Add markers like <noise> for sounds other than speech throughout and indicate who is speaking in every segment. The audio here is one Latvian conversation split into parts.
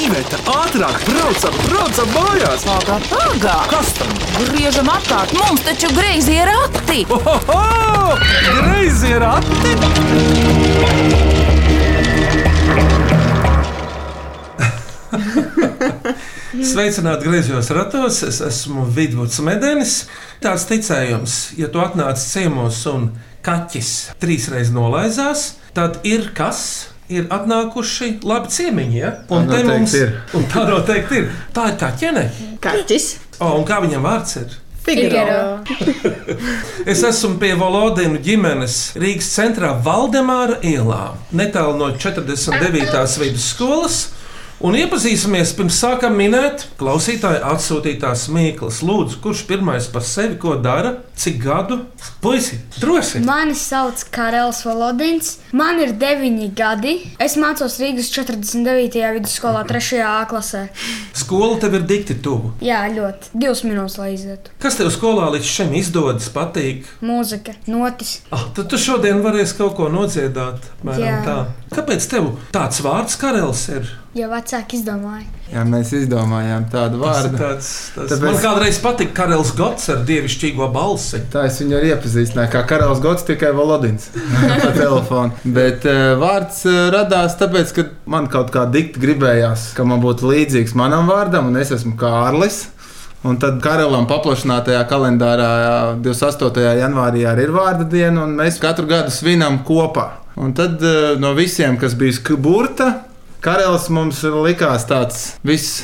Speaker 1: Iveta, ātrāk, braucam, braucam mājās!
Speaker 2: Ātrāk, ātrāk!
Speaker 1: Kas tam?
Speaker 2: Griežam apkārt, mums taču greizi ir rati!
Speaker 1: Oho! Greizi ir ati!
Speaker 3: Sveicināti griezos ratos, es esmu Vidvuds Medenis. Tāds ticējums, ja tu atnāc ciemos un kaķis trīsreiz nolaizās, tad ir kas? Ir atnākuši labi ciemiņi. Ja? Un
Speaker 4: Tā
Speaker 3: te
Speaker 4: noteikti
Speaker 3: mums-
Speaker 4: ir.
Speaker 3: un tā noteikti ir. Tā ir kaķene.
Speaker 5: Kaķis.
Speaker 3: O, un kā viņam vārds ir?
Speaker 5: Figaro.
Speaker 3: Es esmu pie Volodina ģimenes Rīgas centrā Valdemāra ielā, netālu no 49. vidusskolas. Un iepazīsimies pirms sākam minēt klausītāju atsūtītās mīklas. Lūdzu, kurš pirmais par sevi ko dara, cik gadu? Puisi, droši!
Speaker 6: Mani sauc Karels Valodins, man ir 9 gadi. Es mācos Rīgas 49. vidusskolā, 3. A klasē.
Speaker 3: Skola tev ir dikti tuvu.
Speaker 6: Jā, ļoti. 2 minūtes, lai izietu.
Speaker 3: Kas tev skolā līdz šim izdodas, patīk?
Speaker 6: Mūzika, notis.
Speaker 3: Ah, tad tu šodien varēsi kaut ko nodziedāt. apmēram
Speaker 6: Jā.
Speaker 3: tā. Kāpēc tev tāds vārds Karels ir?
Speaker 6: Ja vecāki izdomāja,
Speaker 4: Jā, mēs izdomājām tādu
Speaker 3: Tas ir
Speaker 4: vārdu.
Speaker 3: Tāds, tas
Speaker 4: Tāpēc-
Speaker 3: Tāpēc... Man kādreiz patika Karels Gots ar dievišķīgo balsi.
Speaker 4: Tā es viņu arī iepazīstināju, kā karalis gods, tikai Valodins. Tā telefona. Bet uh, vārds uh, radās tāpēc, ka man kaut kā dikti gribējās, ka man būtu līdzīgs manam vārdam, un es esmu Kārlis. Un tad karalam paplašinātajā kalendārā jā, 28. janvārī arī ir vārda diena, un mēs katru gadu svinam kopā. Un tad uh, no visiem, kas bija skburta, Karelis mums likās tāds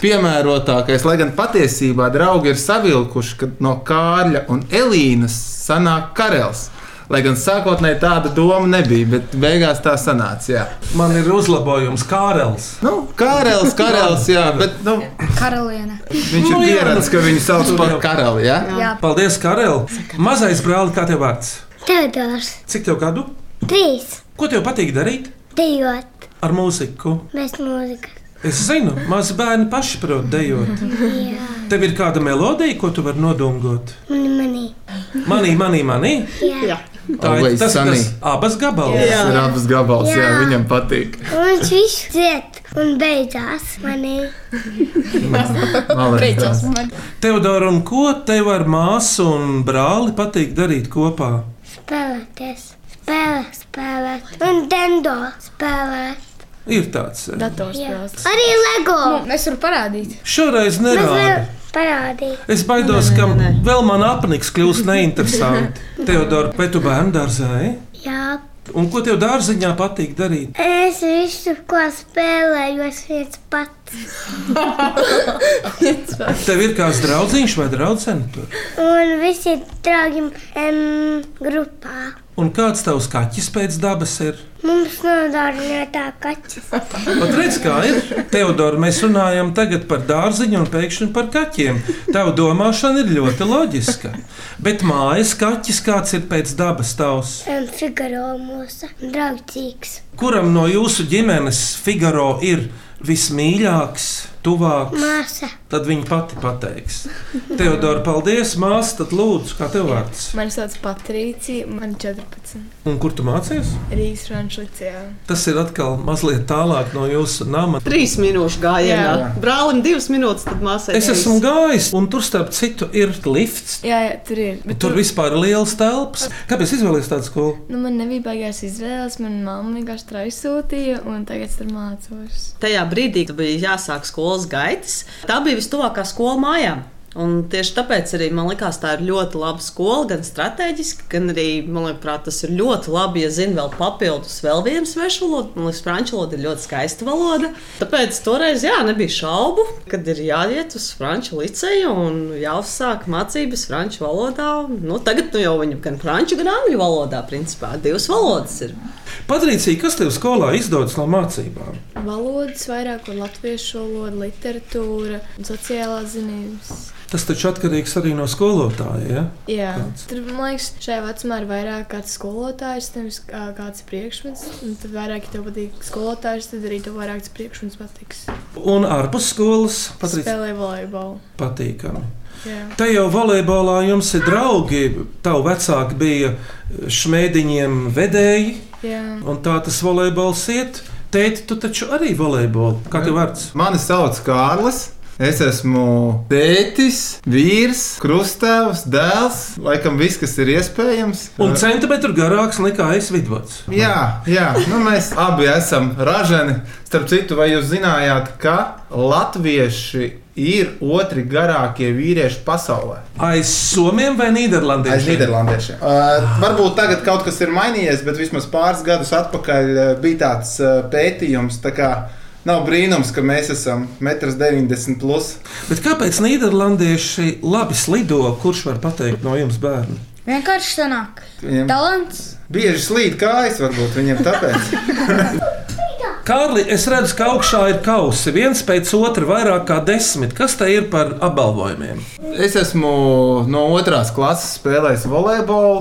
Speaker 4: vispiemērotākais, lai gan patiesībā draugi ir savilkuši, ka no Kārļa un Elīnas sanāk Karelis. Lai gan sākotnēji tāda doma nebija, bet beigās tā sanāca. Jā.
Speaker 3: Man ir uzlabojums Kārels.
Speaker 4: Nu, Kārlis, Kārlis, jā, bet nu,
Speaker 6: karaliene.
Speaker 3: Nu,
Speaker 4: viņš ir
Speaker 3: jā.
Speaker 4: pieredzējis, ka viņu sauc par karali. Jā?
Speaker 6: Jā,
Speaker 3: Paldies, Karel! Mazais brāl, kā tev vārds?
Speaker 7: Teodors,
Speaker 3: Cik tev gadu?
Speaker 7: trīs,
Speaker 3: Ko tev patīk darīt
Speaker 7: dejot,
Speaker 3: ar mūziku?
Speaker 7: bez mūzikas.
Speaker 3: Es zinu, mazi bērni paši prot dejot. Tev ir kāda melodija, ko tu vari nodungot?
Speaker 7: Mani, mani,
Speaker 3: Manī, manī, manī.
Speaker 7: jā.
Speaker 3: Tā ir
Speaker 4: Always
Speaker 3: tas,
Speaker 4: sunny.
Speaker 3: kas abas gabals.
Speaker 4: Tas ir abas gabals, jā,
Speaker 7: Jā.
Speaker 4: viņam patīk.
Speaker 7: Un viņš viss ciet un beidzās mani.
Speaker 4: Malēs,
Speaker 3: Teodora, un ko tev ar māsu un brāli patīk darīt kopā?
Speaker 7: Spēlēties, spēlēt, spēlēt. Un dendo spēlēt.
Speaker 3: Ir tāds. eh,
Speaker 7: Jā. Arī Lego.
Speaker 6: Es varu parādīt.
Speaker 3: Šoreiz
Speaker 7: Mēs
Speaker 3: nerādi.
Speaker 7: varam parādīt.
Speaker 3: Es baidos, ka vēl man apniks kļūs neinteresanti. Teodor, vai tu bērnu dārzā ej?
Speaker 7: Jā.
Speaker 3: Un ko tev dārziņā patīk darīt?
Speaker 7: Es visu, ko spēlēju, es viens pats.
Speaker 3: Tev ir kāds draugs vai draugs.
Speaker 7: Un visi draugi um, grupā.
Speaker 3: Un kāds tavs kaķis pēc dabas ir?
Speaker 7: Mums nav dārginātā kaķis.
Speaker 3: Pat redz, kā ir. Teodor, mēs runājam tagad par dārziņu un pēkšņi par kaķiem. Tava domāšana ir ļoti loģiska. Bet mājas kaķis kāds ir pēc dabas tavs?
Speaker 7: Um, Figaro mūsu draudzīgs.
Speaker 3: Kuram no jūsu ģimenes Figaro ir vismīļākais, tuvākais?
Speaker 7: Māsa.
Speaker 3: Tad viņi pati pateiks. Teodora, paldies, māsa, tad lūdzu, kā tev vārds?
Speaker 8: Mani sauc Patricija, man ir 14.
Speaker 3: Un kur tu mācies?
Speaker 8: Rīgas Frančijas līcējā.
Speaker 3: Tas ir atkal mazliet tālāk no jūsu nama.
Speaker 5: Trīs minūšu gājienā. Brālim divas minūtes, tad māsai.
Speaker 3: Es esmu gājis, un tur starp citu ir lifts.
Speaker 8: Jā, jā, tur ir. Bet
Speaker 3: Tur vispār ir liels telpas. Kāpēc izvēlēties tādu skolu?
Speaker 8: Nu, man nebija baigās izvēles, man mamma vienkārši tā aizsūtīja, un tagad es tur mācos.
Speaker 5: Tajā brīdī bija jāsāk skolas gaitas. Tā bija vistuvākā skola mājām. Un tieši tāpēc arī man liekas, tā ir ļoti laba skola, gan strateģiski, gan arī, man liekas, tas ir ļoti labi, ja zina vēl papildus vēl vienu svešu valodu. Man liekas, franču valoda ir ļoti skaista valoda. Tāpēc toreiz, jā, nebija šaubu, kad ir jāiet uz franču liceju un jāuzsāk mācības franču valodā. Nu, tagad nu, jau viņam gan franču, gan angļu valodā, principā, divas valodas ir.
Speaker 3: Patrīcija, kas tev skolā izdodas no mācībām?
Speaker 8: Valodas vairāk, un latviešu valoda, literatūra, un sociālās zinības.
Speaker 3: Tas taču atkarīgs arī no skolotāja. Ja?
Speaker 8: Jā, tur man liekas, šajā vecumā ir vairāk kāds skolotājs, nevis kā- kāds priekšmets. Un tad vairāk, ja tev patīk skolotājs, tad arī tev vairāk tas priekšmets patiks.
Speaker 3: Un ārpus skolas Patrīcija
Speaker 8: Spēlē volejbolu.
Speaker 3: patīkami.
Speaker 8: Jā.
Speaker 3: Te jau volejbolā jums ir draugi. Tavu vecāki bija šmēdiņiem vedēji.
Speaker 8: Jā.
Speaker 3: Un tā tas volejbols iet. Tēti, tu taču arī volejbolu. Kā tev vārds?
Speaker 4: Mani sauc Kārlis. Es esmu tētis, vīrs, krustēvs, dēls. Laikam viss, kas ir iespējams.
Speaker 3: Un centimetru garāks nekā es vidusceļš.
Speaker 4: Jā, jā. Nu, mēs abi esam ražani. Starp citu, vai jūs zinājāt, ka latvieši ir otri garākie vīrieši pasaulē?
Speaker 3: Aiz somiem vai nīderlandiešiem?
Speaker 4: Aiz Nīderlandiešiem. Uh, varbūt tagad kaut kas ir mainījies, bet vismaz pāris gadus atpakaļ uh, bija tāds uh, pētījums. Tā kā nav brīnums, ka mēs esam 1,90 m.
Speaker 3: Bet kāpēc nīderlandieši labi slido? Kurš var pateikt no jums, bērni?
Speaker 6: Vienkārši sanāk.
Speaker 4: Viņiem
Speaker 6: Talants.
Speaker 4: bieži slīd kājas, varbūt viņiem tāpēc.
Speaker 3: Kārli, es redzu, ka augšā ir kausi. Viens pēc otra, vairāk kā desmit. Kas te ir par apbalvojumiem?
Speaker 4: <laughs> Es esmu no otras klases spēlējis volejbolu.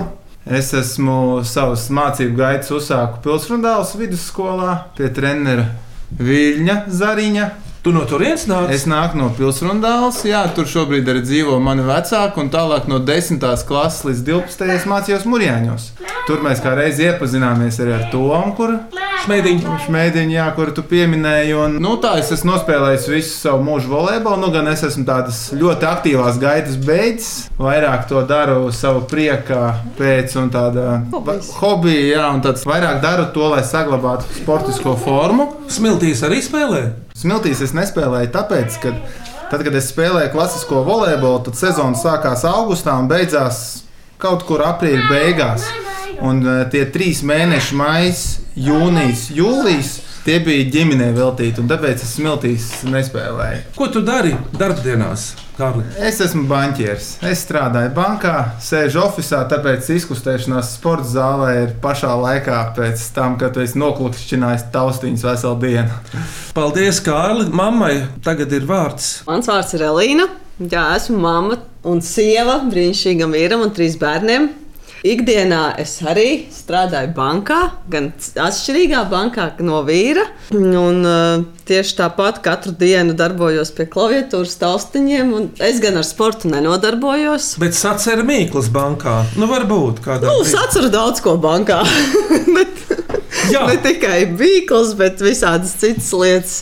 Speaker 4: Es esmu savas mācību gaitas uzsāku Pilsrundālas vidusskolā pie trenera Viļņa Zariņa.
Speaker 3: Tu no turienes nāc?
Speaker 4: Es nāku no Pilsrundālas, jā, tur šobrīd arī dzīvo mani vecāki, un tālāk no 10. klases līdz 12. mācījos Mūrjāņos. Tur mēs kā reiz iepazināmies arī ar Tomu, kur
Speaker 3: Šmēdiņ.
Speaker 4: Šmēdiņa, jā, kuru tu pieminēji. Un, nu, tā es esmu nospēlējis visu savu mūžu volejbolu. Nu, gan es esmu tādas ļoti aktīvās gaitas beidzis. Vairāk to daru savu prieka pēc un tāda
Speaker 5: Hobijs.
Speaker 4: hobija, jā, un tāds vairāk daru to, lai saglabātu sportisko formu.
Speaker 3: Smiltīs arī spēlē.
Speaker 4: Smiltīs es nespēlēju, tāpēc, ka tad, kad es spēlēju klasisko volejbolu, tad sezona sākās augustā un beidzās kaut kur aprīļa beigās. Un eh, tie trīs mēneši, maija, jūnijas, jūlijas, tie bija ģimenei veltīti, un tāpēc es smiltīs nespēlēju.
Speaker 3: Ko tu dari darbdienās, Kārli?
Speaker 4: Es esmu banķieris. Es strādāju bankā, sēžu oficiālā, tāpēc izkustēšanās sporta zālē ir pašā laikā pēc tam, kad esmu noklikšķinājis taustiņas veselu dienu.
Speaker 3: Paldies, Kārli. Mammai tagad ir vārds.
Speaker 5: Mans vārds ir Elīna. Jā, esmu mamma un sieva brīnišķīgam vīram un trīs bērniem. Ikdienā es arī strādāju bankā, gan c- atšķirīgā bankā no vīra. Un, uh, tieši tāpat katru dienu darbojos pie klaviatūras taustiņiem, un es gan ar sportu nenodarbojos.
Speaker 3: Bet sacēra mīklas bankā. Nu, varbūt kādā.
Speaker 5: Nu,
Speaker 3: brīdī.
Speaker 5: es atceros daudz ko bankā. <laughs> Bet-
Speaker 3: Jā.
Speaker 5: Ne tikai bīkles, bet visādas citas lietas,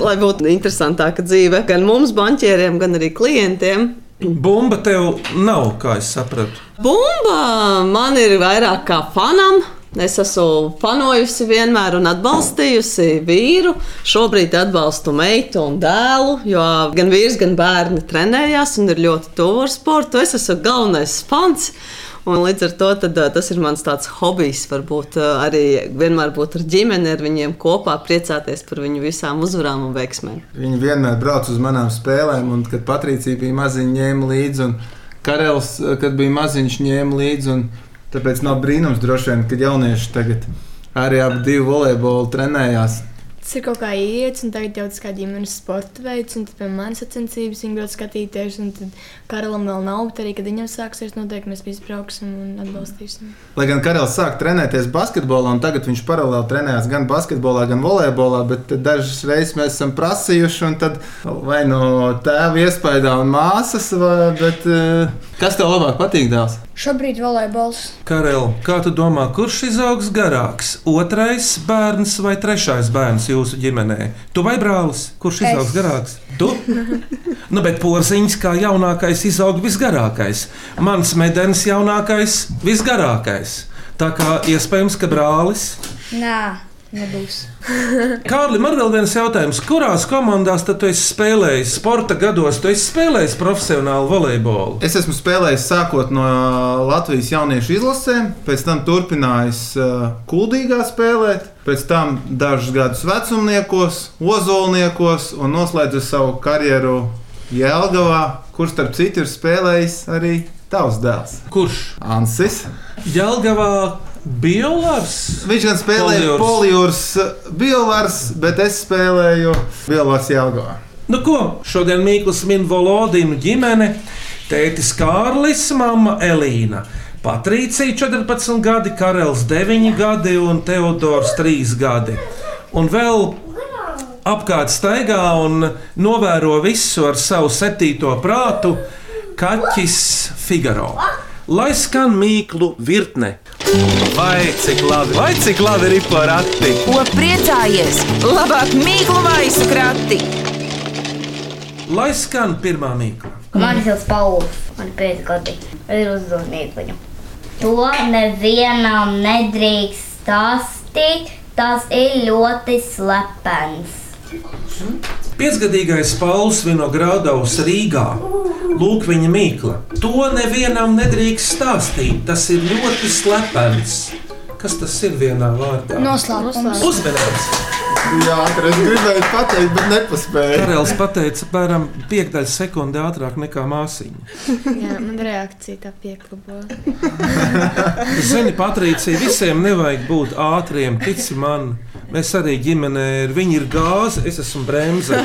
Speaker 5: lai būtu interesantāka dzīve gan mums, banķieriem, gan arī klientiem.
Speaker 3: Bumba tev nav, kā es sapratu.
Speaker 5: Bumba man ir vairāk kā fanam. Es esmu fanojusi vienmēr un atbalstījusi vīru. Šobrīd atbalstu meitu un dēlu, jo gan vīrs, gan bērni trenējās un ir ļoti tuvu ar sportu. Es esmu galvenais fans. Un līdz ar to tad, ā, tas ir mans tāds hobijs. Varbūt ā, arī vienmēr būt ar ģimeni, ar viņiem kopā, priecāties par viņu visām uzvarām un veiksmēm.
Speaker 4: Viņa vienmēr brauc uz manām spēlēm, un kad Patricija bija maziņa, ņēma līdzi, un Karels, eh, kad bija maziņš, ņēma līdzi. un Tāpēc nav brīnums, droši vien, kad jaunieši tagad arī ap divu volejbolu trenējās.
Speaker 8: Tas ir kaut kā iets, un tagad jau tas kā ģimenes sporta veids, un tad pie manas sacensības viņa gribētu skatīties, un tad karalam vēl nav, bet arī, kad viņam sāksies, noteikti mēs visi brauksim un atbalstīsim.
Speaker 4: Lai gan Karels sāk trenēties basketbolā, un tagad viņš paralēli trenējās gan basketbolā, gan volejbolā, bet tad dažas reizes mēs esam prasījuši, un tad vai no tēva iespējā un māsas, vai, bet eh, kas tev labāk patīk, dēls?
Speaker 6: Šobrīd volejbols.
Speaker 3: Karel, kā tu domā, kurš izaugs garāks? Otrais bērns vai trešais bērns jūsu ģimenē? Tu vai brālis? Kurš
Speaker 6: Es.
Speaker 3: izaugs garāks? Tu? nu, bet porziņš kā jaunākais izaug visgarākais. Mans medenis jaunākais - visgarākais. Tā kā iespējams, ka brālis.
Speaker 6: Nē, nebūs.
Speaker 3: Kārlim, ar vēl viens jautājums. Kurās komandās tad tu esi spēlējis? Sporta gados tu esi spēlējis profesionāli volejbolu.
Speaker 4: Es esmu spēlējis sākot no Latvijas jauniešu izlasēm, pēc tam turpinājis eh, kuldīgā spēlēt, pēc tam dažus gadus vecumniekos, ozolniekos un noslēdzu savu karjeru Jēlgavā, kurš starp citu ir spēlējis arī tavs dēls.
Speaker 3: Kurš?
Speaker 4: Ansis.
Speaker 3: Jelgavā Biolārs.
Speaker 4: Viņš gan spēlēja polijūras biolārs, bet es spēlēju biolārs Jēlgavā.
Speaker 3: Nu, ko šodien Mikls min Volodīnu ģimene, tētis Kārlis, mamma Elīna. Patricija 14 gadi, Karels 9 gadi un Teodors 3 gadi. Un vēl apkārt staigā un novēro visu ar savu septīto prātu - kaķis Figaro. lai skan mīklu virkne.
Speaker 1: Vai cik labi, vai cik labi ir porati?
Speaker 2: Ko priecājies? Labāk mīklu maisu krati!
Speaker 3: Lai skan pirmā mīkla.
Speaker 7: Man ir sauc Pauls, man ir 5 gadi. Es uzzvanīju viņu. To nevienam nedrīkst stāstīt. Tas ir ļoti slepens.
Speaker 3: Piecgadīgais Pauls Vinogradovs Rīgā. Lūk, viņa mīkla. To nevienam nedrīkst stāstīt. Tas ir ļoti slepens. Kas tas ir vienā vārdā?
Speaker 6: Noslēpums.
Speaker 3: Uzmanības!
Speaker 4: Jā, ātri es gribēju pateikt, bet nepaspēju.
Speaker 3: Karēlis pateica, apmēram piekdaļa sekundē ātrāk nekā māsīņa.
Speaker 8: Jā, man reakcija tā pieklabo.
Speaker 3: Zini, Patricija, visiem nevajag būt ātriem, tici man. Mēs arī ģimenē ir. Viņi ir gāze, es esmu bremze.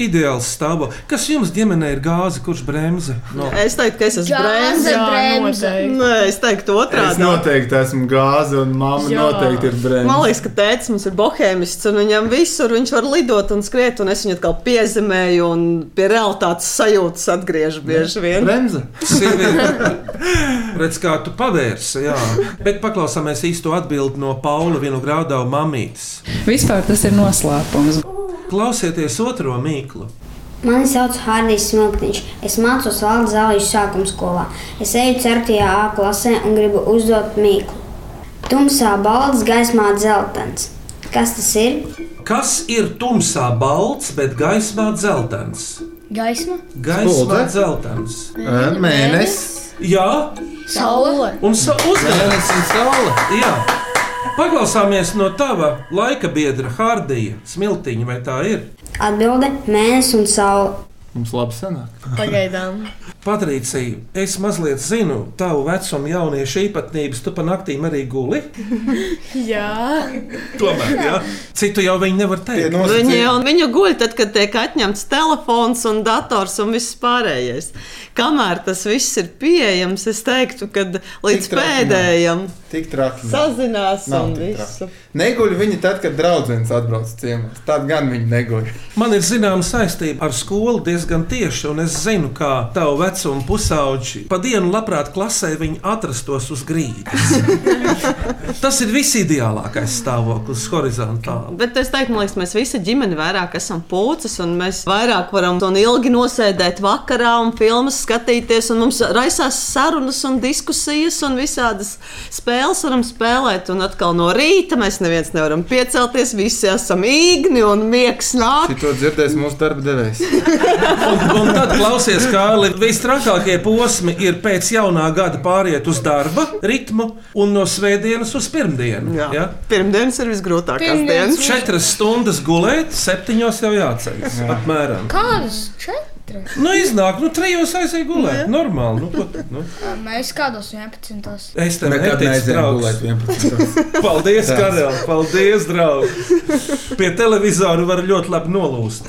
Speaker 3: Ideāls stāvoklis. Kas jums ģimenē ir gāze, kurš bremze? No.
Speaker 5: Es teiktu, ka es esmu brēns.
Speaker 6: Gāze. bremze.
Speaker 8: noteikti.
Speaker 5: Nē, es teiktu
Speaker 4: Es
Speaker 5: otrādi.
Speaker 4: noteikti esmu gāze, un mamma
Speaker 8: Jā.
Speaker 4: noteikti ir
Speaker 5: Man
Speaker 4: brēna.
Speaker 5: liekas, ka tēvs mums ir bohēmists, un viņam visur viņš var lidot un skriet, un es viņu atkal piezemēju, un pie realitātes sajūtas atgriežu bieži vien.
Speaker 4: Bremze.
Speaker 3: Sieviete, redz, kā tu pavērsi. Jā. Bet paklausāmies īsto atbildi no Paula Vinogrāda mamītes.
Speaker 9: Vispār tas ir noslēpums.
Speaker 3: Klausieties otro mīklu.
Speaker 7: Mani sauc Hārdijs Smilkniņš. Es mācos Valdes zālīšu sākuma skolā. Es eju 4. A klasē un gribu uzdot mīklu. Tumsā balts, gaismā dzeltens. Kas tas ir?
Speaker 3: Kas ir tumsā balts, bet gaismā dzeltens?
Speaker 6: Gaisma.
Speaker 3: Gaismā
Speaker 4: Spuldze?
Speaker 3: dzeltens.
Speaker 4: Ē, Mēnesis.
Speaker 3: Jā,
Speaker 6: Saule.
Speaker 3: un sa- uzmanība.
Speaker 4: Mēnesis un saule.
Speaker 3: Jā. Paklausāmies no tava laika biedra Hārdija, Smiltiņa, vai tā ir?
Speaker 7: Atbilde - mēnesis un saule.
Speaker 4: Mums labi sanāk.
Speaker 8: Pagaidām.
Speaker 3: Patricija, es mazliet zinu tavu vecumu, jauniešu īpatnības. Tu pa naktīm arī guli.
Speaker 8: Jā,
Speaker 3: Tomēr, jā. Citu jau viņi nevar teikt.
Speaker 4: Tie nu-
Speaker 5: Viņa,
Speaker 4: nosacījumi.
Speaker 5: jau- viņa guļ tad, kad tiek atņemts telefons un dators un viss pārējais. Kamēr tas viss ir pieejams, es teiktu, ka līdz
Speaker 4: Tik traki nav.
Speaker 5: pēdējam
Speaker 4: Tik traki. nav.
Speaker 5: sazinās
Speaker 4: Nav
Speaker 5: un
Speaker 4: tik traki.
Speaker 5: visu.
Speaker 4: Neguļ viņi tad, kad draugs atbrauc ciemos. Tad gan viņi neguļ.
Speaker 3: Man ir zināma saistība ar skolu diezgan tieši, un es zinu, kā tavu vecumu pusauģi pa dienu labprāt klasē viņi atrastos uz grīdas. Tas ir visideālākais stāvoklis horizontāli.
Speaker 5: Bet es teiktu, man liekas, mēs visi ģimeni vairāk esam pūcis, un mēs vairāk varam un ilgi nosēdēt vakarā un filmas skatīties, un mums raisās sarunas un diskusijas, un visādas spēles varam spēlēt, un atkal no rīta mēs neviens nevaram piecelties, visi esam īgni un miegs nāk.
Speaker 4: Šito dzirdēs mūsu darba devējs.
Speaker 3: Un tad klausies, kā visstrakākie posmi ir pēc jaunā gada pāriet uz darba ritmu un no svētdienas uz pirmdienu.
Speaker 5: Jā.
Speaker 3: Ja?
Speaker 5: Pirmdienas ir visgrūtākās
Speaker 6: Pirmdienas
Speaker 5: dienas.
Speaker 3: Četras stundas gulēt, septiņos jau jāceļas. Jā. Apmēram.
Speaker 6: Kādas četras?
Speaker 3: Nu, iznāk, nu, trijos aizēj gulēt. Normāli. Nu, ko, tad, nu.
Speaker 6: Mēs kādos 11.
Speaker 3: Es tev
Speaker 4: Nekad
Speaker 3: neticu,
Speaker 4: neaizējām
Speaker 3: draugs.
Speaker 4: gulēt 11.
Speaker 3: Paldies, Karel! Paldies, draugs! Pie televizora var ļoti labi nolūst.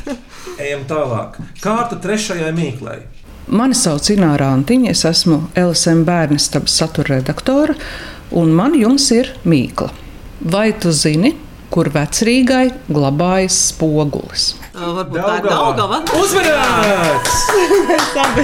Speaker 3: Ejam tālāk. Kārta trešajai mīklei.
Speaker 9: Mani sauc Ināra Antiņa, es esmu LSM bērnu stabas satura redaktore, un man jums ir mīkla. Vai tu zini, kur vecrīgai glabājas spogulis?
Speaker 5: Uh, Varbūt tā ir Daugava.
Speaker 3: Uzmanīgs!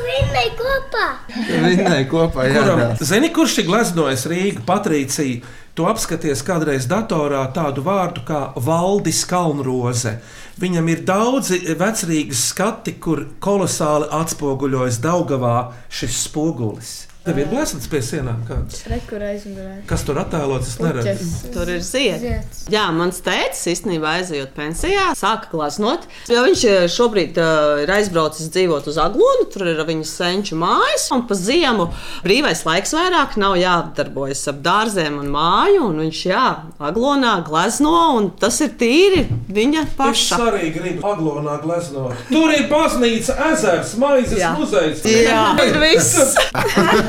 Speaker 7: Vinnēji kopā!
Speaker 4: Vinnēji kopā
Speaker 3: Kuram,
Speaker 4: jādara.
Speaker 3: zini, kurš ir gleznojis Rīgā, Patricija? Tu apskaties kādreiz datorā tādu vārdu kā Valdis Kalnroze. Viņam ir daudzi vecrīgas skati, kur kolosāli atspoguļojas Daugavā šis spogulis. Tev ir glezniecības pie sienām kāds.
Speaker 8: rekur aizmugurē.
Speaker 3: Kas tur attēlots, es neredzu.
Speaker 5: Tur ir ziedi.
Speaker 6: Zieds.
Speaker 5: Jā, mans tēvs īstenībā aizjūt pensijā, sāka glazot. Jo viņš eh, šobrīd uh, ir aizbraucis dzīvot uz Aglonu, tur ir viņa senču mājas, un pa ziemu brīvais laiks vairāk nav jāapdarbojas ap dārziem un māju. Un viņš jā, Aglonā glazno, un tas ir tīri viņa
Speaker 3: Es
Speaker 5: paša.
Speaker 3: arī gribu aglomā gleznot. Tur ir baznīca, ezers, maizes
Speaker 5: Jā.
Speaker 3: muzejs.
Speaker 5: Jā, <laughs> tas ir viss.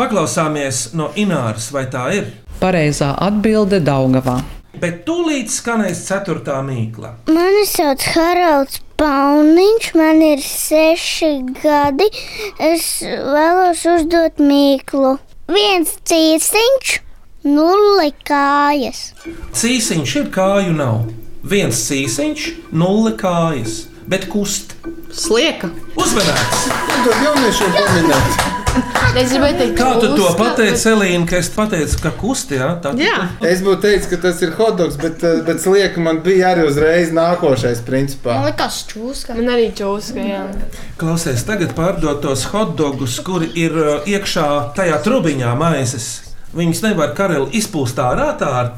Speaker 3: Paklausāmies no Ināras, vai tā ir.
Speaker 9: Pareizā atbilde - Daugavā.
Speaker 3: Bet tūlīt skanēs ceturtā mīkla.
Speaker 7: Mani sauc Haralds Pauniņš, man ir seši gadi. Es vēlos uzdot mīklu. Viens cīsiņš, nulle kājas.
Speaker 3: Cīsiņš ir kāju nav. Viens cīsiņš, nulle kājas, bet kust.
Speaker 10: Slieka.
Speaker 3: Uzmanīgs!
Speaker 4: Tad jauniešu pamanāt.
Speaker 10: Es gribēju teikt,
Speaker 3: Kā tu to
Speaker 10: uzka-
Speaker 3: pateici, Elīna, ka es pateicu, ka kusti, jā? Tā,
Speaker 5: Jā,
Speaker 4: Es būtu teicis, ka tas ir hotdogs, bet, eh, bet slieka man bija arī uzreiz nākošais, principā.
Speaker 6: Man
Speaker 5: Nu,
Speaker 6: liekas, čūska.
Speaker 8: Man arī čūska, jā.
Speaker 3: Klausies, tagad pārdotos hotdogus, kuri ir uh, iekšā tajā trubiņā maizes. Viņus nevar karali izpūst ārā tā ar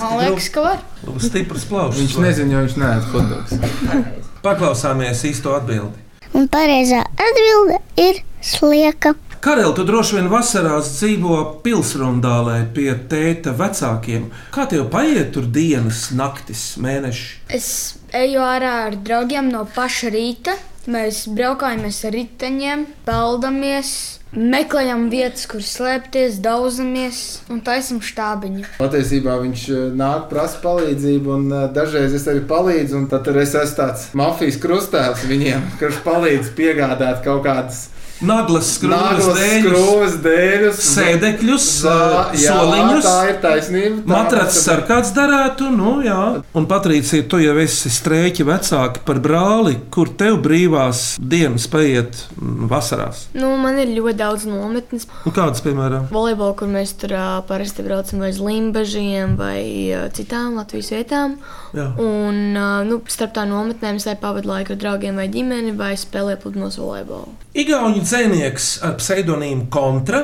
Speaker 6: Man liekas, ka var.
Speaker 3: stipras plaušas.
Speaker 4: Viņš nezina, jo viņš neēd hotdogs.
Speaker 3: Paklausāmies īsto atbildi.
Speaker 11: Un pareizā atbilde ir slieka.
Speaker 3: Karel, tu droši vien vasarās dzīvo pilsrundālē pie tēta vecākiem. Kā tev paiet tur dienas, naktis, mēneši?
Speaker 6: Es eju ārā ar draugiem no paša rīta. Mēs braukājamies ar riteņiem, peldamies, meklējam vietas, kur slēpties, dauzamies un taisam štābiņu.
Speaker 4: Patiesībā viņš eh, nāk, prasa palīdzību, un eh, dažreiz es arī palīdzu, un tad tur es esmu tāds mafijas krustēls viņiem, kurš palīdz piegādāt kaut kādas
Speaker 3: Naglas skrūves,
Speaker 4: naglas
Speaker 3: dēļus,
Speaker 4: skrūves, dēļus,
Speaker 3: sēdekļus, eh,
Speaker 4: Zā- jā,
Speaker 3: soliņus.
Speaker 4: Tā ir taisnība. tā
Speaker 3: Matracis
Speaker 4: tas-
Speaker 3: ar kāds darētu, nu jā. Un, Patricija, tu jau esi strēķi vecāki par brāli, kur tev brīvās dienas paiet mm, vasarās.
Speaker 8: Nu, man ir ļoti daudz nometnes.
Speaker 3: Nu, kādas, piemēram,
Speaker 8: Volejbolu, kur mēs tur ā, parasti braucam vai uz limbažiem vai ā, citām Latvijas vietām.
Speaker 3: Jā.
Speaker 8: Un ā, nu, starp tā nometnēm es arī pavadu laiku ar draugiem vai ģimeni vai spēlēju pludmales volejbolu.
Speaker 3: Igaunijas dzinieks ar pseidonīmu Kontra,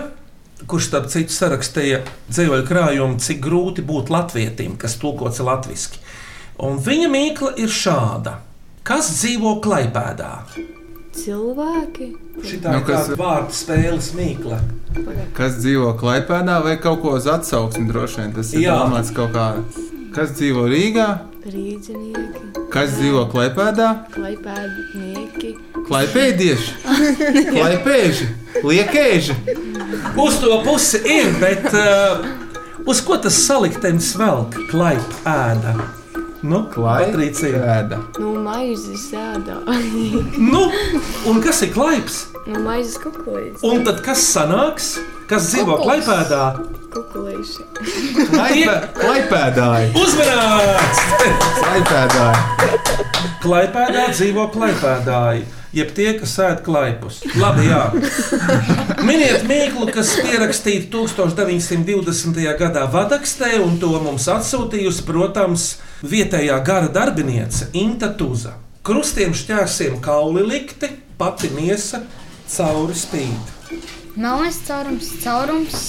Speaker 3: kurš starp citu sarakstīja dzīvoju krājumu, cik grūti būt latvietim, kas tulkots latviešu. Un viņa mīkla ir šāda. Kas dzīvo klaipēdā?
Speaker 8: Cilvēki?
Speaker 3: Šitā
Speaker 4: Nu,
Speaker 3: nu,
Speaker 4: kas-
Speaker 3: kas... vārdu spēles mīkla.
Speaker 4: Kas dzīvo Klaipēdā vai kaut ko uz atsauksmi droši vien? Tas ir
Speaker 3: Jā.
Speaker 4: domāts kaut kā. Kas dzīvo Rīgā?
Speaker 8: Rīdzinieki,
Speaker 4: Kas dzīvo Klaipēdā?
Speaker 8: klaipēdnieki.
Speaker 3: <laughs>
Speaker 4: Klaipēdieši! Klaipēži! Liekēži!
Speaker 3: Uz to pusi ir, bet uh, uz ko tas saliktenis velk? Klaipa ēda. Nu, Patricija.
Speaker 4: Klaipēda!
Speaker 8: Nu, maizes <laughs> sēdā.
Speaker 3: Nu, un kas ir klaips?
Speaker 8: nu, maizes kukulīši.
Speaker 3: Un tad kas sanāks? Kas dzīvo klaipēdā?
Speaker 8: Kukulīši.
Speaker 4: Klaipē- Klaipēdāji!
Speaker 3: Uzmanīts!
Speaker 4: Klaipēdāji!
Speaker 3: <laughs> Klaipēdā dzīvo klaipēdāji. Jeb tie, kas sēž klaipus. Labi, jā. Miniet mīklu, kas pierakstīta 1920. gadā Vadakstē, un to mums atsūtījusi, protams, vietējā gara darbiniece Inta Tuza. Krustiem šķērsiem kauli likti, pati miesa cauri spīd.
Speaker 6: Melnais caurums, caurums,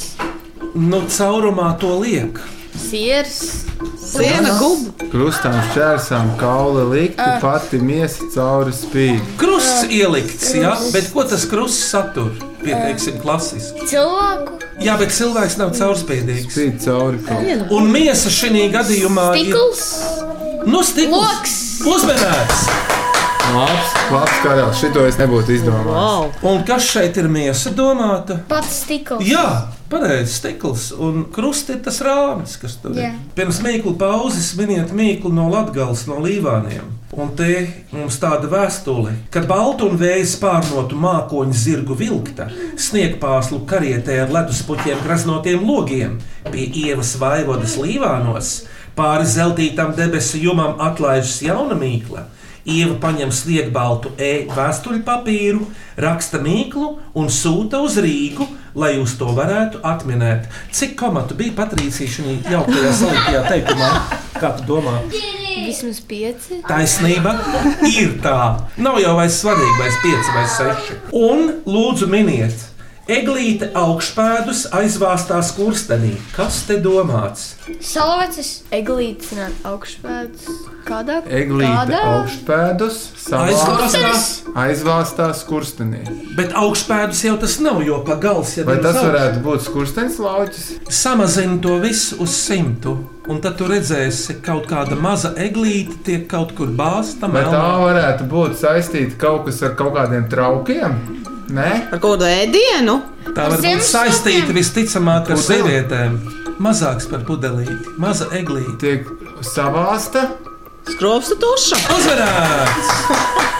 Speaker 3: Nu, caurumā to liek.
Speaker 10: Siers.
Speaker 5: siena guba.
Speaker 4: Krustām šķērsām kauli likti,
Speaker 3: Ah.
Speaker 4: pati miesa cauri spīd.
Speaker 3: Krusts ielikts, jā, bet ko tas krusts satur? Pieteiksim, klasiski.
Speaker 6: cilvēku,
Speaker 3: Jā, bet cilvēks nav caurspīdīgs.
Speaker 4: Spīd cauri kaut kā.
Speaker 3: Un miesa šajā gadījumā
Speaker 6: stikls,
Speaker 3: ir nu, stikls.
Speaker 6: loks.
Speaker 3: Uzmanīgs!
Speaker 4: Labs, labs karēls, šito es nebūtu izdomājis.
Speaker 5: Wow.
Speaker 3: Un kas šeit ir miesa domāta?
Speaker 6: Pats stikls.
Speaker 3: Jā, pareizi, stikls un krusts ir tas rāmis, kas tur ir.
Speaker 6: Jā.
Speaker 3: Pirms mīklu pauzes miniet mīklu no Latvijas, no Līvāniem. Un te mums tāda vēstule, kad baltu un vēju spārnotu mākoņu zirgu vilkta, sniegpāslu karietē ar leduspuķiem graznotiem logiem pie ievas vaivodas Līvānos, pāri zeltītam debesu jumam atlaižas jauna mīkla. Ieva paņem sliekbaltu e-vēstuļu papīru, raksta mīklu un sūta uz Rīgu, lai jūs to varētu atminēt. Cik komatu bija Patrīcija šajā jauktajā saliktajā teikumā? Kā tu domā?
Speaker 8: Vismaz pieci.
Speaker 3: Taisnība ir tā. Nav jau vairs svarīgi, vai es pieci vai seši. Un lūdzu, miniet, eglīte augšpēdus aizvāstās kurstenī. Kas te domāts?
Speaker 6: Salvecis,
Speaker 8: Eglītis nāk augšpēdus. Kādā?
Speaker 4: Eglīte
Speaker 8: Kādā?
Speaker 4: augšpēdus savā
Speaker 3: Aizvāstās,
Speaker 4: aizvāstās kurstenī.
Speaker 3: bet augšpēdus jau tas nav, jo pa gals jau
Speaker 4: Vai tas varētu būt skurstenis lauķis?
Speaker 3: Samazini to visu uz simtu, un tad tu redzēsi, ka kaut kāda maza eglīte tiek kaut kur bāzta.
Speaker 4: Vai tā
Speaker 3: melnā.
Speaker 4: varētu būt saistīta kaut kas ar kaut kādiem traukiem? Nē,
Speaker 5: Ar kādu ēdienu?
Speaker 3: tā var būt
Speaker 6: Ziemassvētkiem?
Speaker 3: saistīta visticamāk ar
Speaker 4: Pudeli?
Speaker 3: sievietēm. Mazāks par pudelīti, maza eglīte.
Speaker 4: tiek savāsta,
Speaker 5: Skropstu tuša.
Speaker 3: Uzvarēts!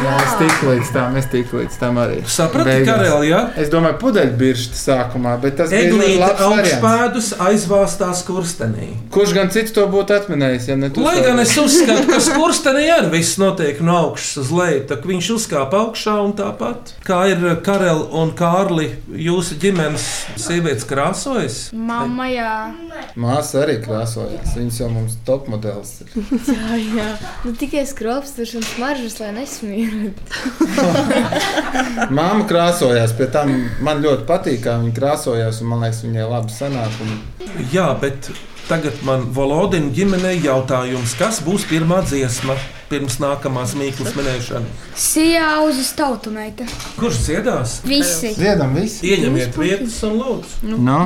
Speaker 4: Jā, es tiku līdz tam, es tiku līlīdz tam arī.
Speaker 3: Ah. Saprati, Karel, jā?
Speaker 4: Es domāju, pudeļbiršķi sākumā, bet tas bija ļoti
Speaker 3: Eglīte
Speaker 4: labs variants.
Speaker 3: augšpēdus aizvāstās kurstenī.
Speaker 4: Kurš gan cits to būtu atminējis, ja ne tu?
Speaker 3: Lai
Speaker 4: Sara?
Speaker 3: gan es uzskatu, ka skurstenī arī viss notiek no augšas uz leju, tad viņš uzkāpa augšā un tāpat. Kā ir Karel un Kārli, jūsu ģimenes sievietes krāsojas?
Speaker 6: Mamma, jā.
Speaker 4: Māsa arī krāsojās. Viņas jau mums top modelis ir.
Speaker 8: Jā, jā. Nu, tikai skropstus un smaržas, lai nesmīrētu.
Speaker 4: Māma krāsojās, pie tam man ļoti patīk, kā viņa krāsojās. un Man liekas, viņai labi sanāk. Un...
Speaker 3: Jā, bet tagad man Volodina ģimenei jautājums, kas būs pirmā dziesma pirms nākamās mīklas minēšanas?
Speaker 6: Sijā uz tautumeita.
Speaker 3: Kurš dziedās?
Speaker 6: Visi.
Speaker 4: Dziedam visi.
Speaker 3: Ieņemiet vietas un lūdzu.
Speaker 12: Nu.
Speaker 4: No.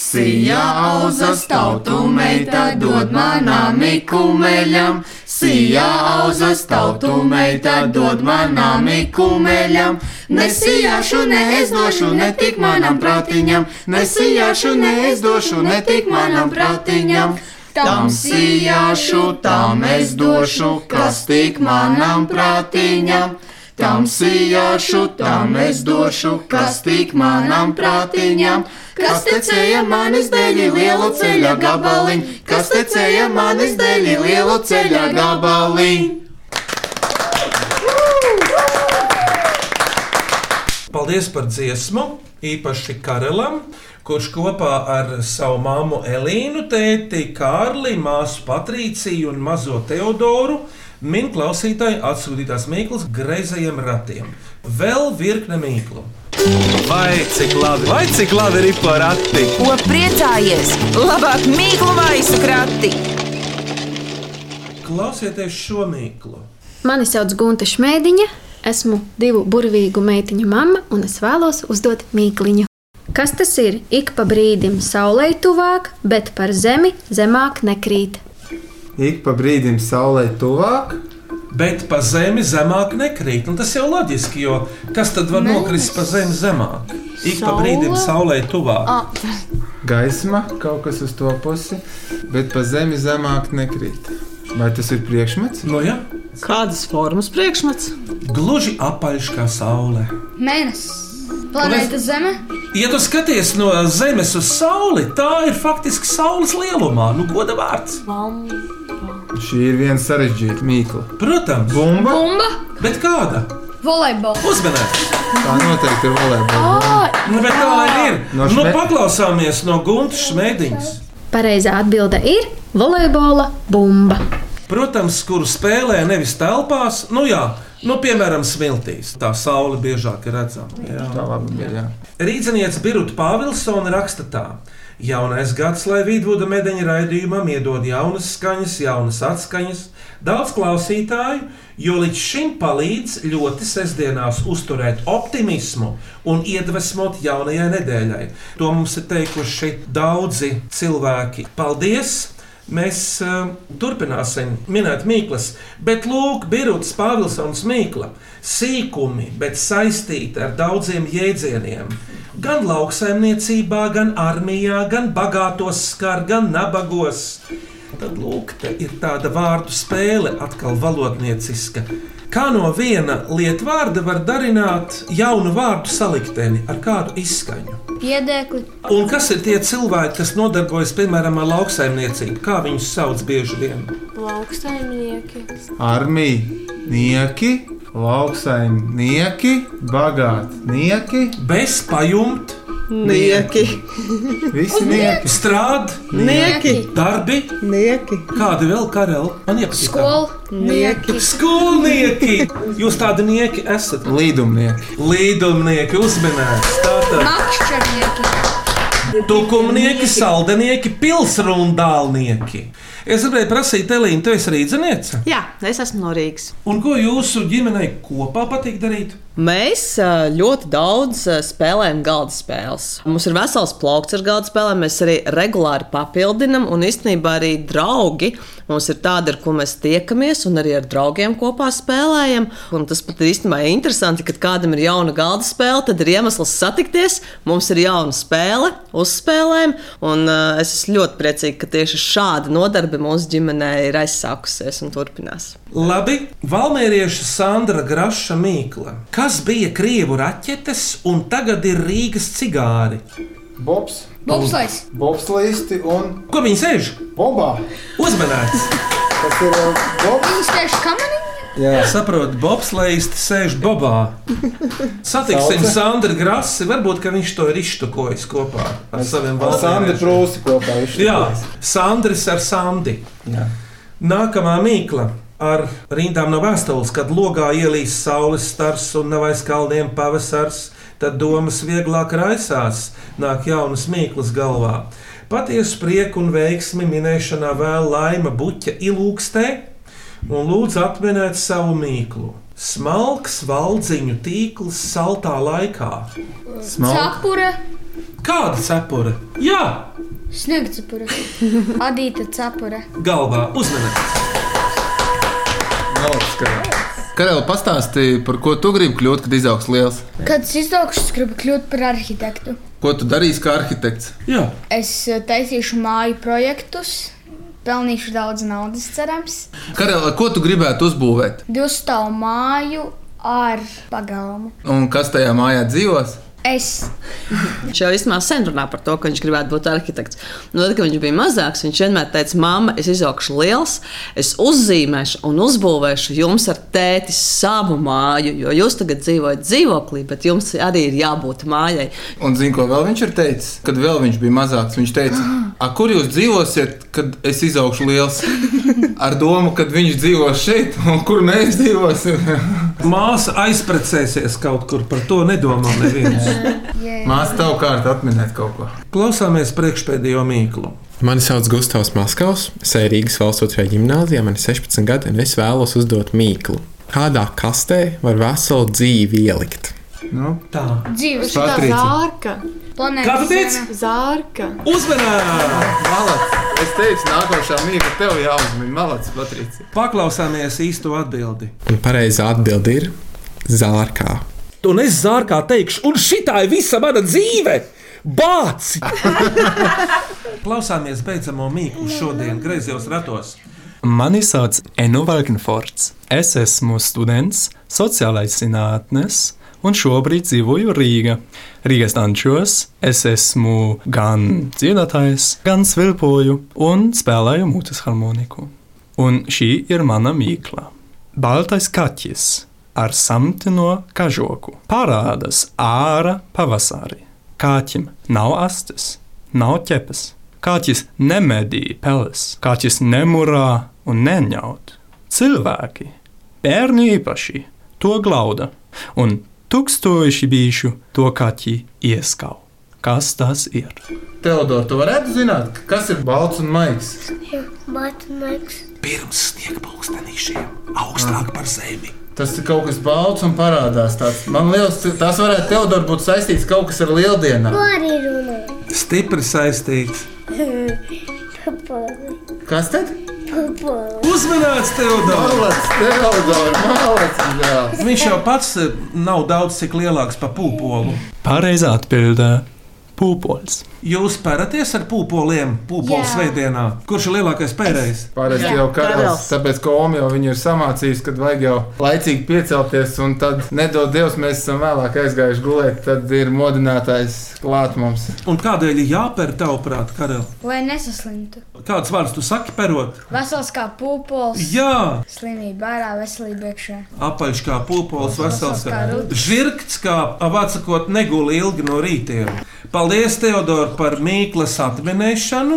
Speaker 12: Sijā auza stautu meita dod manām ikumeļam, Sijā auza stautu meita dod manām ikumeļam, Nesijāšu, ne es došu, ne tik manam prātiņam, Nesijāšu, ne es došu, ne tik manam prātiņam. Tam sijāšu, tam es došu, kas tik manam prātiņam. Tam sijāšu, tam es došu, kas tik manam prātiņam. Kas tecēja manis dēļ lielu ceļa gabaliņu, kas tecēja manis dēļ lielu ceļa gabaliņu.
Speaker 3: Paldies par dziesmu, īpaši Karelam, kurš kopā ar savu māmu Elīnu, tēti Kārli, māsu Patrīciju un mazo Teodoru min klausītāju atsūtītās mīklas greizajiem ratiem. Vēl virkne mīklu.
Speaker 1: Vai cik labi, vai cik labi ir porati?
Speaker 2: Ko priecājies? Labāk mīklu maisu krati!
Speaker 3: Klausieties šo mīklu.
Speaker 10: Mani sauc Gunte Šmētiņa, esmu divu burvīgu meitiņu mamma un es vēlos uzdot mīkliņu. Kas tas ir? Ik pa brīdim saulē tuvāk, bet par zemi zemāk nekrīt.
Speaker 4: Ik pa brīdim saulē tuvāk.
Speaker 3: Bet pa zemi zemāk nekrīt. Un tas jau loģiski, jo kas tad var nokrist pa zemi zemāk? Ik pa
Speaker 4: Saule?
Speaker 3: brīdim saulē tuvāk.
Speaker 4: Gaisma kaut kas uz to pusi, bet pa zemi zemāk nekrīt. Vai tas ir priekšmets?
Speaker 3: No, Nu, ja.
Speaker 5: Kādas formas priekšmets?
Speaker 3: Gluži apaļš kā saule.
Speaker 6: Mēnesis. Planēta Zeme.
Speaker 3: Ja tu skaties no zemes uz sauli, tā ir faktiski saules lielumā, nu goda vārds.
Speaker 4: Šī ir viena sarežģīta mīkla.
Speaker 3: Protams,
Speaker 4: bumba.
Speaker 6: Bumba.
Speaker 3: Bet kāda?
Speaker 6: Volejbols.
Speaker 3: Uzmanīgi!
Speaker 4: Tā noteikti ir volejbola.
Speaker 3: Nu, bet tā lai ir.
Speaker 4: No
Speaker 3: No nu,
Speaker 4: šme-
Speaker 3: paklausāmies no Guntas Šmētiņas.
Speaker 10: Pareizā atbilde ir volejbola bumba.
Speaker 3: Protams, kuru spēlē nevis telpās, nu jā, nu, piemēram, smiltīs. Tā saule biežāk ir redzama. Jā.
Speaker 4: Tā labi bija. Jā.
Speaker 3: Rīdzinieks Birta Pāvilsona raksta tā. Jaunais gads, lai Vīdvuda medaļu raidījumam iedod jaunas skaņas, jaunas atskaņas, daudz klausītāju, jo līdz šim palīdz ļoti sestdienās uzturēt optimismu un iedvesmot jaunajai nedēļai. To mums ir teikuši daudzi cilvēki. Paldies! Mēs uh, turpināsim minēt mīklas, bet lūk, Birūtas Pāvilsons mīkla. Sīkumi, bet saistīti ar daudziem jēdzieniem. Gan lauksaimniecībā, gan armijā, gan bagātos skar, gan nabagos. Tad lūk, te ir tāda vārdu spēle, atkal valodnieciska. Kā no viena lietu vārda var darināt jaunu vārdu salikteni ar kādu izskaņu?
Speaker 6: Piedēkli.
Speaker 3: Un kas ir tie cilvēki, kas nodarbojas piemēram ar lauksaimniecību? Kā viņus sauc bieži vien?
Speaker 8: Lauksaimnieki.
Speaker 4: Armijnieki, lauksaimnieki, bagātnieki.
Speaker 3: Bez pajumt,
Speaker 5: Nieki.
Speaker 4: Visi nieki.
Speaker 3: strādnieki,
Speaker 5: Nieki.
Speaker 3: darbi,
Speaker 5: Nieki.
Speaker 3: kādi vēl karali. Man ir
Speaker 6: Skolnieki.
Speaker 3: Skolnieki! Jūs tādi nieki esat.
Speaker 4: Līdumnieki.
Speaker 3: Līdumnieki uzmanīgi. Tātad
Speaker 6: Makšķernieki.
Speaker 3: tukumnieki, saldenieki, pilsrundālnieki. Es gribēju prasīt, Elīna, tu esi rīdziniece?
Speaker 5: Jā, es esmu no Rīgas.
Speaker 3: Un ko jūsu ģimenei kopā patīk darīt?
Speaker 5: Mēs ā, ļoti daudz ā, spēlējam galda spēles. Mums ir vesels plaukts ar galda spēlēm. Mēs arī regulāri papildinām, un īstenībā arī draugi mums ir tādi, ar ko mēs tiekamies, un arī ar draugiem kopā spēlējam. Un tas pat ir īstenībā interesanti, kad kādam ir jauna galda spēle, tad ir iemesls satikties. Mums ir jauna spēle, uzspēlējam, un ā, es esmu ļoti priecīga, ka tieši šāda nodarbe darbi mūsu ģimenē ir aizsākusies un turpinās.
Speaker 3: Labi, Valmērieša Sandra Graša Mīkla. Kas bija krievu raķetes un tagad ir Rīgas cigāri?
Speaker 4: Bobs. Bobslaids. Bobslaisti un.
Speaker 3: Ko viņi sēž?
Speaker 4: Bobā.
Speaker 3: Uzmanīts!
Speaker 4: Tas ir uh, Bobs.
Speaker 6: Viņš tieši kamaniņā.
Speaker 3: Jā, saprotu, bobslēgti sēž bobā. Satiksim,
Speaker 4: Sauce.
Speaker 3: Sandra Grasi, varbūt ka viņš to ir iztukojis kopā ar saviem
Speaker 4: Ar Sandru
Speaker 3: valstīm.
Speaker 4: Prūsi kopā
Speaker 3: Jā, Sandrs ar Sandi.
Speaker 4: Jā.
Speaker 3: Nākamā mīkla. Ar rindām no vēstules, kad logā ielīs saules stars un nav aiz kalniem pavasars, tad domas vieglāk raisās, nāk jaunas mīklas galvā. Patiesu prieku un veiksmi minēšanā vēl laima buķa ilūkstē, un lūdzu atminēt savu mīklu. Smalks valdziņu tīkls saltā laikā.
Speaker 4: Nu.
Speaker 6: Cepura,
Speaker 3: Kāda cepura? Jā,
Speaker 6: sniegcepura, <laughs> adīta cepura.
Speaker 3: galvā uzmanīgs.
Speaker 4: Karel, pastāstīja, par ko tu gribi kļūt, kad izaugs liels.
Speaker 6: Kad es izdaugšu, es gribu kļūt par arhitektu.
Speaker 4: Ko tu darīsi kā arhitekts?
Speaker 3: Jā,
Speaker 6: Es eh, taisīšu māju projektus, pelnīšu daudz naudas, cerams.
Speaker 4: Karel, ko tu gribētu uzbūvēt?
Speaker 6: Divu stāvu māju ar pagalmu.
Speaker 4: Un kas tajā mājā dzīvos?
Speaker 6: Es
Speaker 5: Viņš jau īstenībā sen runā par to, ka viņš gribētu būt arhitekts. Nu, tad, kad viņš bija mazāks, viņš vienmēr teica, māma, es izaugšu liels, es uzzīmēšu un uzbūvēšu jums ar tēti savu māju, jo jūs tagad dzīvojat dzīvoklī, bet jums arī ir jābūt mājai.
Speaker 4: Un zini, ko vēl viņš ir teicis? Kad vēl viņš bija mazāks, viņš teica, "A, kur jūs dzīvosiet, kad es izaugšu liels? Ar domu, kad viņš dzīvos šeit, un kur mēs dzīvosim. <laughs>
Speaker 3: Māsa aizprecēsies kaut kur, par to nedomā neviens.
Speaker 4: Māsa tev kārt atminēt kaut ko.
Speaker 3: Klausāmies priekšpēdējo mīklu.
Speaker 13: Mani sauc Gustavs Maskavs, es eju Rīgas valsts otrajā gimnāzijā, man ir 16 gadi, un es vēlos uzdot mīklu. Kādā kastē var veselu dzīvi ielikt?
Speaker 4: Nu,
Speaker 3: tā.
Speaker 8: Dzīves
Speaker 13: šitā Patricija.
Speaker 8: zārka.
Speaker 13: Kā tu teici?
Speaker 8: Zārka.
Speaker 3: Uzmanīgi!
Speaker 4: Malac! Es teicu, nākošā mīkla tev jāuzmina. Malac, Patricija!
Speaker 3: Paklausāmies īsto atbildi.
Speaker 13: Un pareizā atbilde ir zārkā.
Speaker 3: Un es zārkā teikšu, un šitā ir visa mana dzīve! Bāci! Klausāmies beidzamo mīklu šodien, griezos ratos.
Speaker 14: Mani sauc Enu Valkenfords. Es esmu students, sociālais zinātnes, un šobrīd dzīvoju Rīgā. Rīgas dančos es esmu gan dziedātājs, gan svilpoju un spēlēju mutes harmoniku. Un šī ir mana mīkla. Baltais kaķis ar samtino kažoku parādās ārā pavasarī. Kaķim nav astes, nav ķepes. Kaķis nemedī peles, kaķis nemurā un neņaut. Cilvēki, bērni īpaši, to glauda, un tūkstoši bijuši to kaķi ieskau. Kas tas ir?
Speaker 4: Teodor, tu varētu zināt, kas ir balts un maigs?
Speaker 11: Matemātikas.
Speaker 3: Pirms sniega pulkstenīšiem augstāk par zemi.
Speaker 4: Tas ir kaut kas balts un parādās. Tāds. Man liekas, tas varētu Teodor būt saistīts kaut kas ar lieldienām.
Speaker 11: Ko arī runā?
Speaker 3: Stipri saistīts.
Speaker 11: Papoli.
Speaker 4: Kas tad?
Speaker 11: Papoli.
Speaker 3: Uzmanīts, Teodor!
Speaker 4: Malac, Teodor, malac! Jā.
Speaker 3: Viņš jau pats eh, nav daudz cik lielāks par pūpolu.
Speaker 14: Pareizā atbildē - pūpols.
Speaker 3: Jūs pēraties ar pūpoliem, pūpolu
Speaker 4: Jā.
Speaker 3: svētdienā. Kurš ir lielākais pērējs?
Speaker 4: Parasti jau karalis, tāpēc, ka Omi jau viņu ir samācījis, kad vajag jau laicīgi piecelties, un tad, nedod Dievs, mēs esam vēlāk aizgājuši gulēt, tad ir modinātājs klāt mums.
Speaker 3: Un kādēļ ir jāpēr tev prāt, Karel?
Speaker 6: lai nesaslimtu.
Speaker 3: Kāds vārds tu saki perot?
Speaker 6: Vesels kā pupols.
Speaker 3: Jā.
Speaker 6: Slimība ārā, veselība iekšā.
Speaker 3: Apaļš kā pūpols, vesels kā
Speaker 6: kā rūts.
Speaker 3: žirgts, kā avācakot neguli ilgi no rītiem. Paldies, Teodor, par mīklas atminēšanu.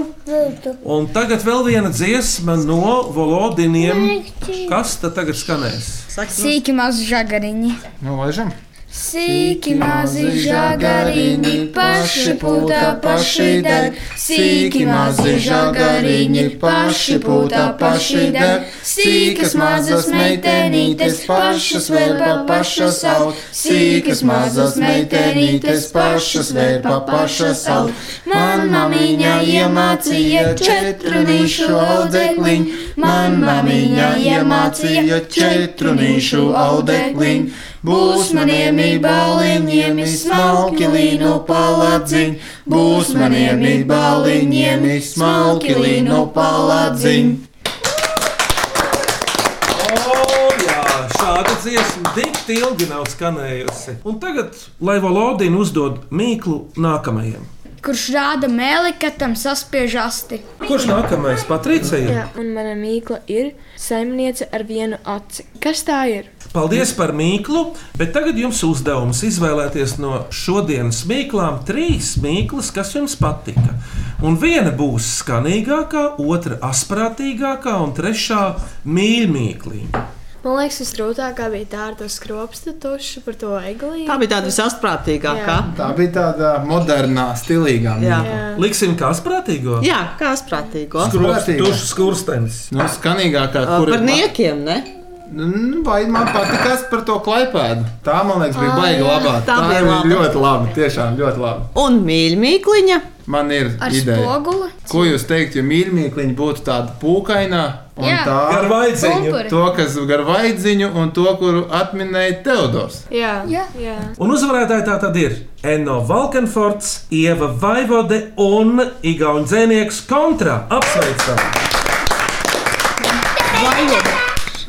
Speaker 3: Un tagad vēl viena dziesma no Volodiniem. Kas tad tagad skanēs?
Speaker 6: Sīki mazi žagariņi.
Speaker 4: Nu, laižam!
Speaker 6: Sīki mazi žagariņi, paši pūtā, paši dar. Sīki mazi žagariņi, paši pūtā, paši dar. Sīkas mazas meitenītes, pašas vēl pa pašas saut. Sīkas mazas meitenītes, pašas vēl pa pašas saut. Man mamiņa iemācīja četrunīšu audzekliņu, man mamiņa iemācīja četrunīšu audzekliņu.
Speaker 12: Būs maniem ībāliņiem, smalki līnu paladziņ, būs maniem ībāliņiem, smalki līnu paladziņ.
Speaker 3: O, Oh, jā, Šāda dziesma tik ilgi nav skanējusi. Un tagad, lai Valodina uzdod mīklu nākamajam.
Speaker 6: Kurš rāda mēli, kad tam saspiež asti?
Speaker 3: Kurš nākamais? Patricija.
Speaker 8: Jā, un mana mīkla ir saimniece ar vienu aci. Kas tā ir?
Speaker 3: Paldies par mīklu, bet tagad jums uzdevums izvēlēties no šodienas mīklām trīs mīklas, kas jums patika. Un viena būs skanīgākā, otra asprātīgākā un trešā mīļākā.
Speaker 8: Man liekas, visgrūtākā bija tā ar to skropstu tušu par to eglīti.
Speaker 5: Tā bija tāda visasprātīgākā.
Speaker 8: Jā.
Speaker 4: Tā bija tāda modernā, stilīgā
Speaker 5: Jā.
Speaker 4: mīkla.
Speaker 3: Liksim, kā asprātīgo?
Speaker 5: Jā, kā asprātīgo.
Speaker 3: Skrūvstušs skurstenis.
Speaker 4: Nu, skanīgākā,
Speaker 5: Ā,
Speaker 4: kur
Speaker 5: Par niekiem, ne?
Speaker 4: Nu, Vai man patīkās par to klaipēdu? Tā, man liekas, bija
Speaker 5: Ā,
Speaker 4: baigta
Speaker 5: jā.
Speaker 4: labā.
Speaker 5: Tā bija laba.
Speaker 4: ļoti labi. Tiešām ļoti labi.
Speaker 5: Un mīļākā.
Speaker 4: Man ir
Speaker 6: Ar
Speaker 4: ideja.
Speaker 6: spoguli?
Speaker 4: Ko jūs teiktu, ja mīļākā būtu tāda pūkainā? un
Speaker 6: Jā.
Speaker 4: tā
Speaker 6: Gar vaidziņu. Pumpuri.
Speaker 4: To, kas gar vaidziņu, un to, kuru atminēja Teodors.
Speaker 8: Jā, jā. jā.
Speaker 3: Un uzvarētāji tā tad ir Enno Valkenforts, Ieva Vaivode un Igaunijas dzēnieks kontra. Apsveicam!
Speaker 4: Un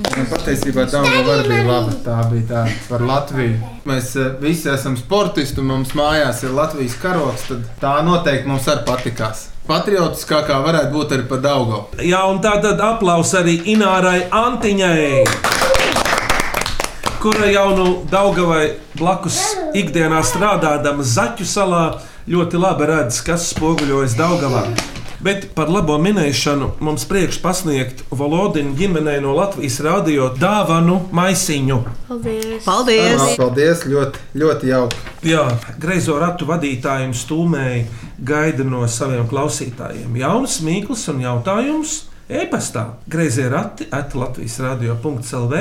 Speaker 4: Nu, Patiesībā tā var bija laba. Tā bija tā par Latviju. Mēs eh, visi esam sportisti, un mums mājās ir Latvijas karoks. Tad tā noteikti mums arī patikās. Patriotiskākā varētu būt arī par Daugo.
Speaker 3: Jā, un tā tad aplausa arī Inārai Antiņai, kura jau nu Daugavai blakus ikdienā strādādama Zaķu salā ļoti labi redz, kas spoguļojas Daugavā. Bet par labo minēšanu mums priekš pasniegt Volodina ģimenei no Latvijas radio dāvanu maisiņu.
Speaker 8: Paldies!
Speaker 4: Paldies! Ļoti, ļoti jauki!
Speaker 3: Jā, greizo ratu vadītāji un stūmēji gaida no saviem klausītājiem jaunas mīklas un jautājumus e-pastā. Greizie rati at Latvijas radio.clv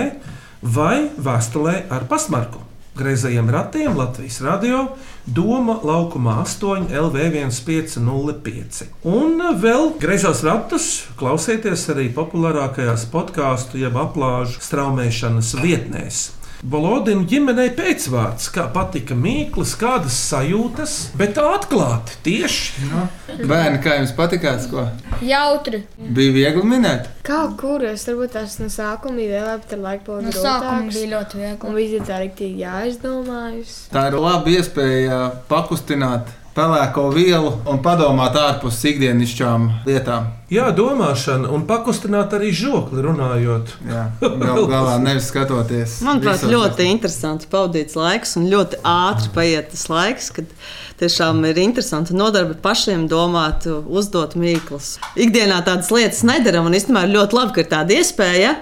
Speaker 3: vai vēstulē ar pasmarku. Greizajiem ratiem Latvijas radio Doma laukumā 8 LV1505. Un vēl greizos ratus klausieties arī populārākajās podkāstu jeb aplāžu straumēšanas vietnēs. Balodina ģimenei pēcvārds, kā patika mīklas, kādas sajūtas, bet atklāti tieši.
Speaker 4: Jā. Bērni, kā jums patīkās?
Speaker 8: Jautri!
Speaker 4: Bija viegli minēt.
Speaker 8: Kā kuras? Varbūt tās no sākuma bija vēl labi, tad laika
Speaker 6: No
Speaker 8: pavadīja.
Speaker 6: sākuma bija ļoti viegli.
Speaker 8: Un viss ir tā rīktīgi jāizdomājas.
Speaker 4: Tā ir laba iespēja pakustināt pelēko vielu un padomāt ārpus ikdienišķām lietām.
Speaker 3: Jā, domāšana un pakustināt arī žokli runājot.
Speaker 4: Jā, Galu galā nevis skatoties.
Speaker 5: Manuprāt,
Speaker 4: visos-
Speaker 5: ļoti interesants pavadīts laiks, un ļoti ātri paiet tas laiks, kad tiešām ir interesanti nodarbi pašiem domāt, uzdot mīklus. Ikdienā tādas lietas nedaram, un īstenībā ir ļoti labi, ka ir tāda iespēja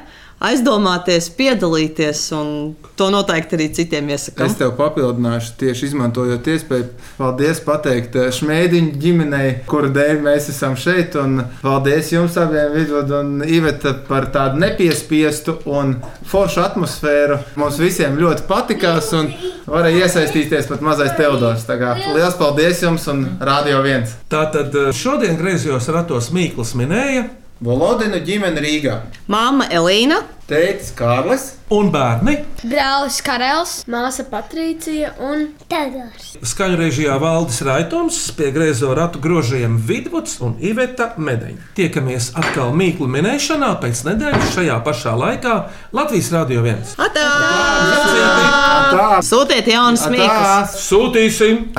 Speaker 5: aizdomāties, piedalīties, un to noteikti arī citiem iesakām.
Speaker 4: Es tev papildināšu, tieši izmantojot iespēju. Paldies, pateikt eh, Šmēdiņu ģimenei, kuru dēļ mēs esam šeit. Un paldies jums abiem, Vidvuds un Iveta, par tādu nepiespiestu un foršu atmosfēru. Mums visiem ļoti patikās un varēja iesaistīties pat mazais Teodors. Tā kā Liels paldies jums un Radio 1!
Speaker 3: Tātad eh, šodien griezījos ratos Mīkls minēja
Speaker 4: Volodinu ģimeni Rīgā.
Speaker 5: Māma Elīna,
Speaker 4: Tētis Kārlis
Speaker 3: un bērni.
Speaker 6: Brālis Karels,
Speaker 8: māsa Patricija un Tēgars.
Speaker 3: Skaņu režijā Valdis Raitons, pie griezo ratu grožiem Vidvuds un Iveta Medeņa. Tiekamies atkal mīklu minēšanā pēc nedēļas šajā pašā laikā Latvijas Rādio 1.
Speaker 5: Atā! Sūtiet jaunas mīklas!
Speaker 3: Sūtīsim!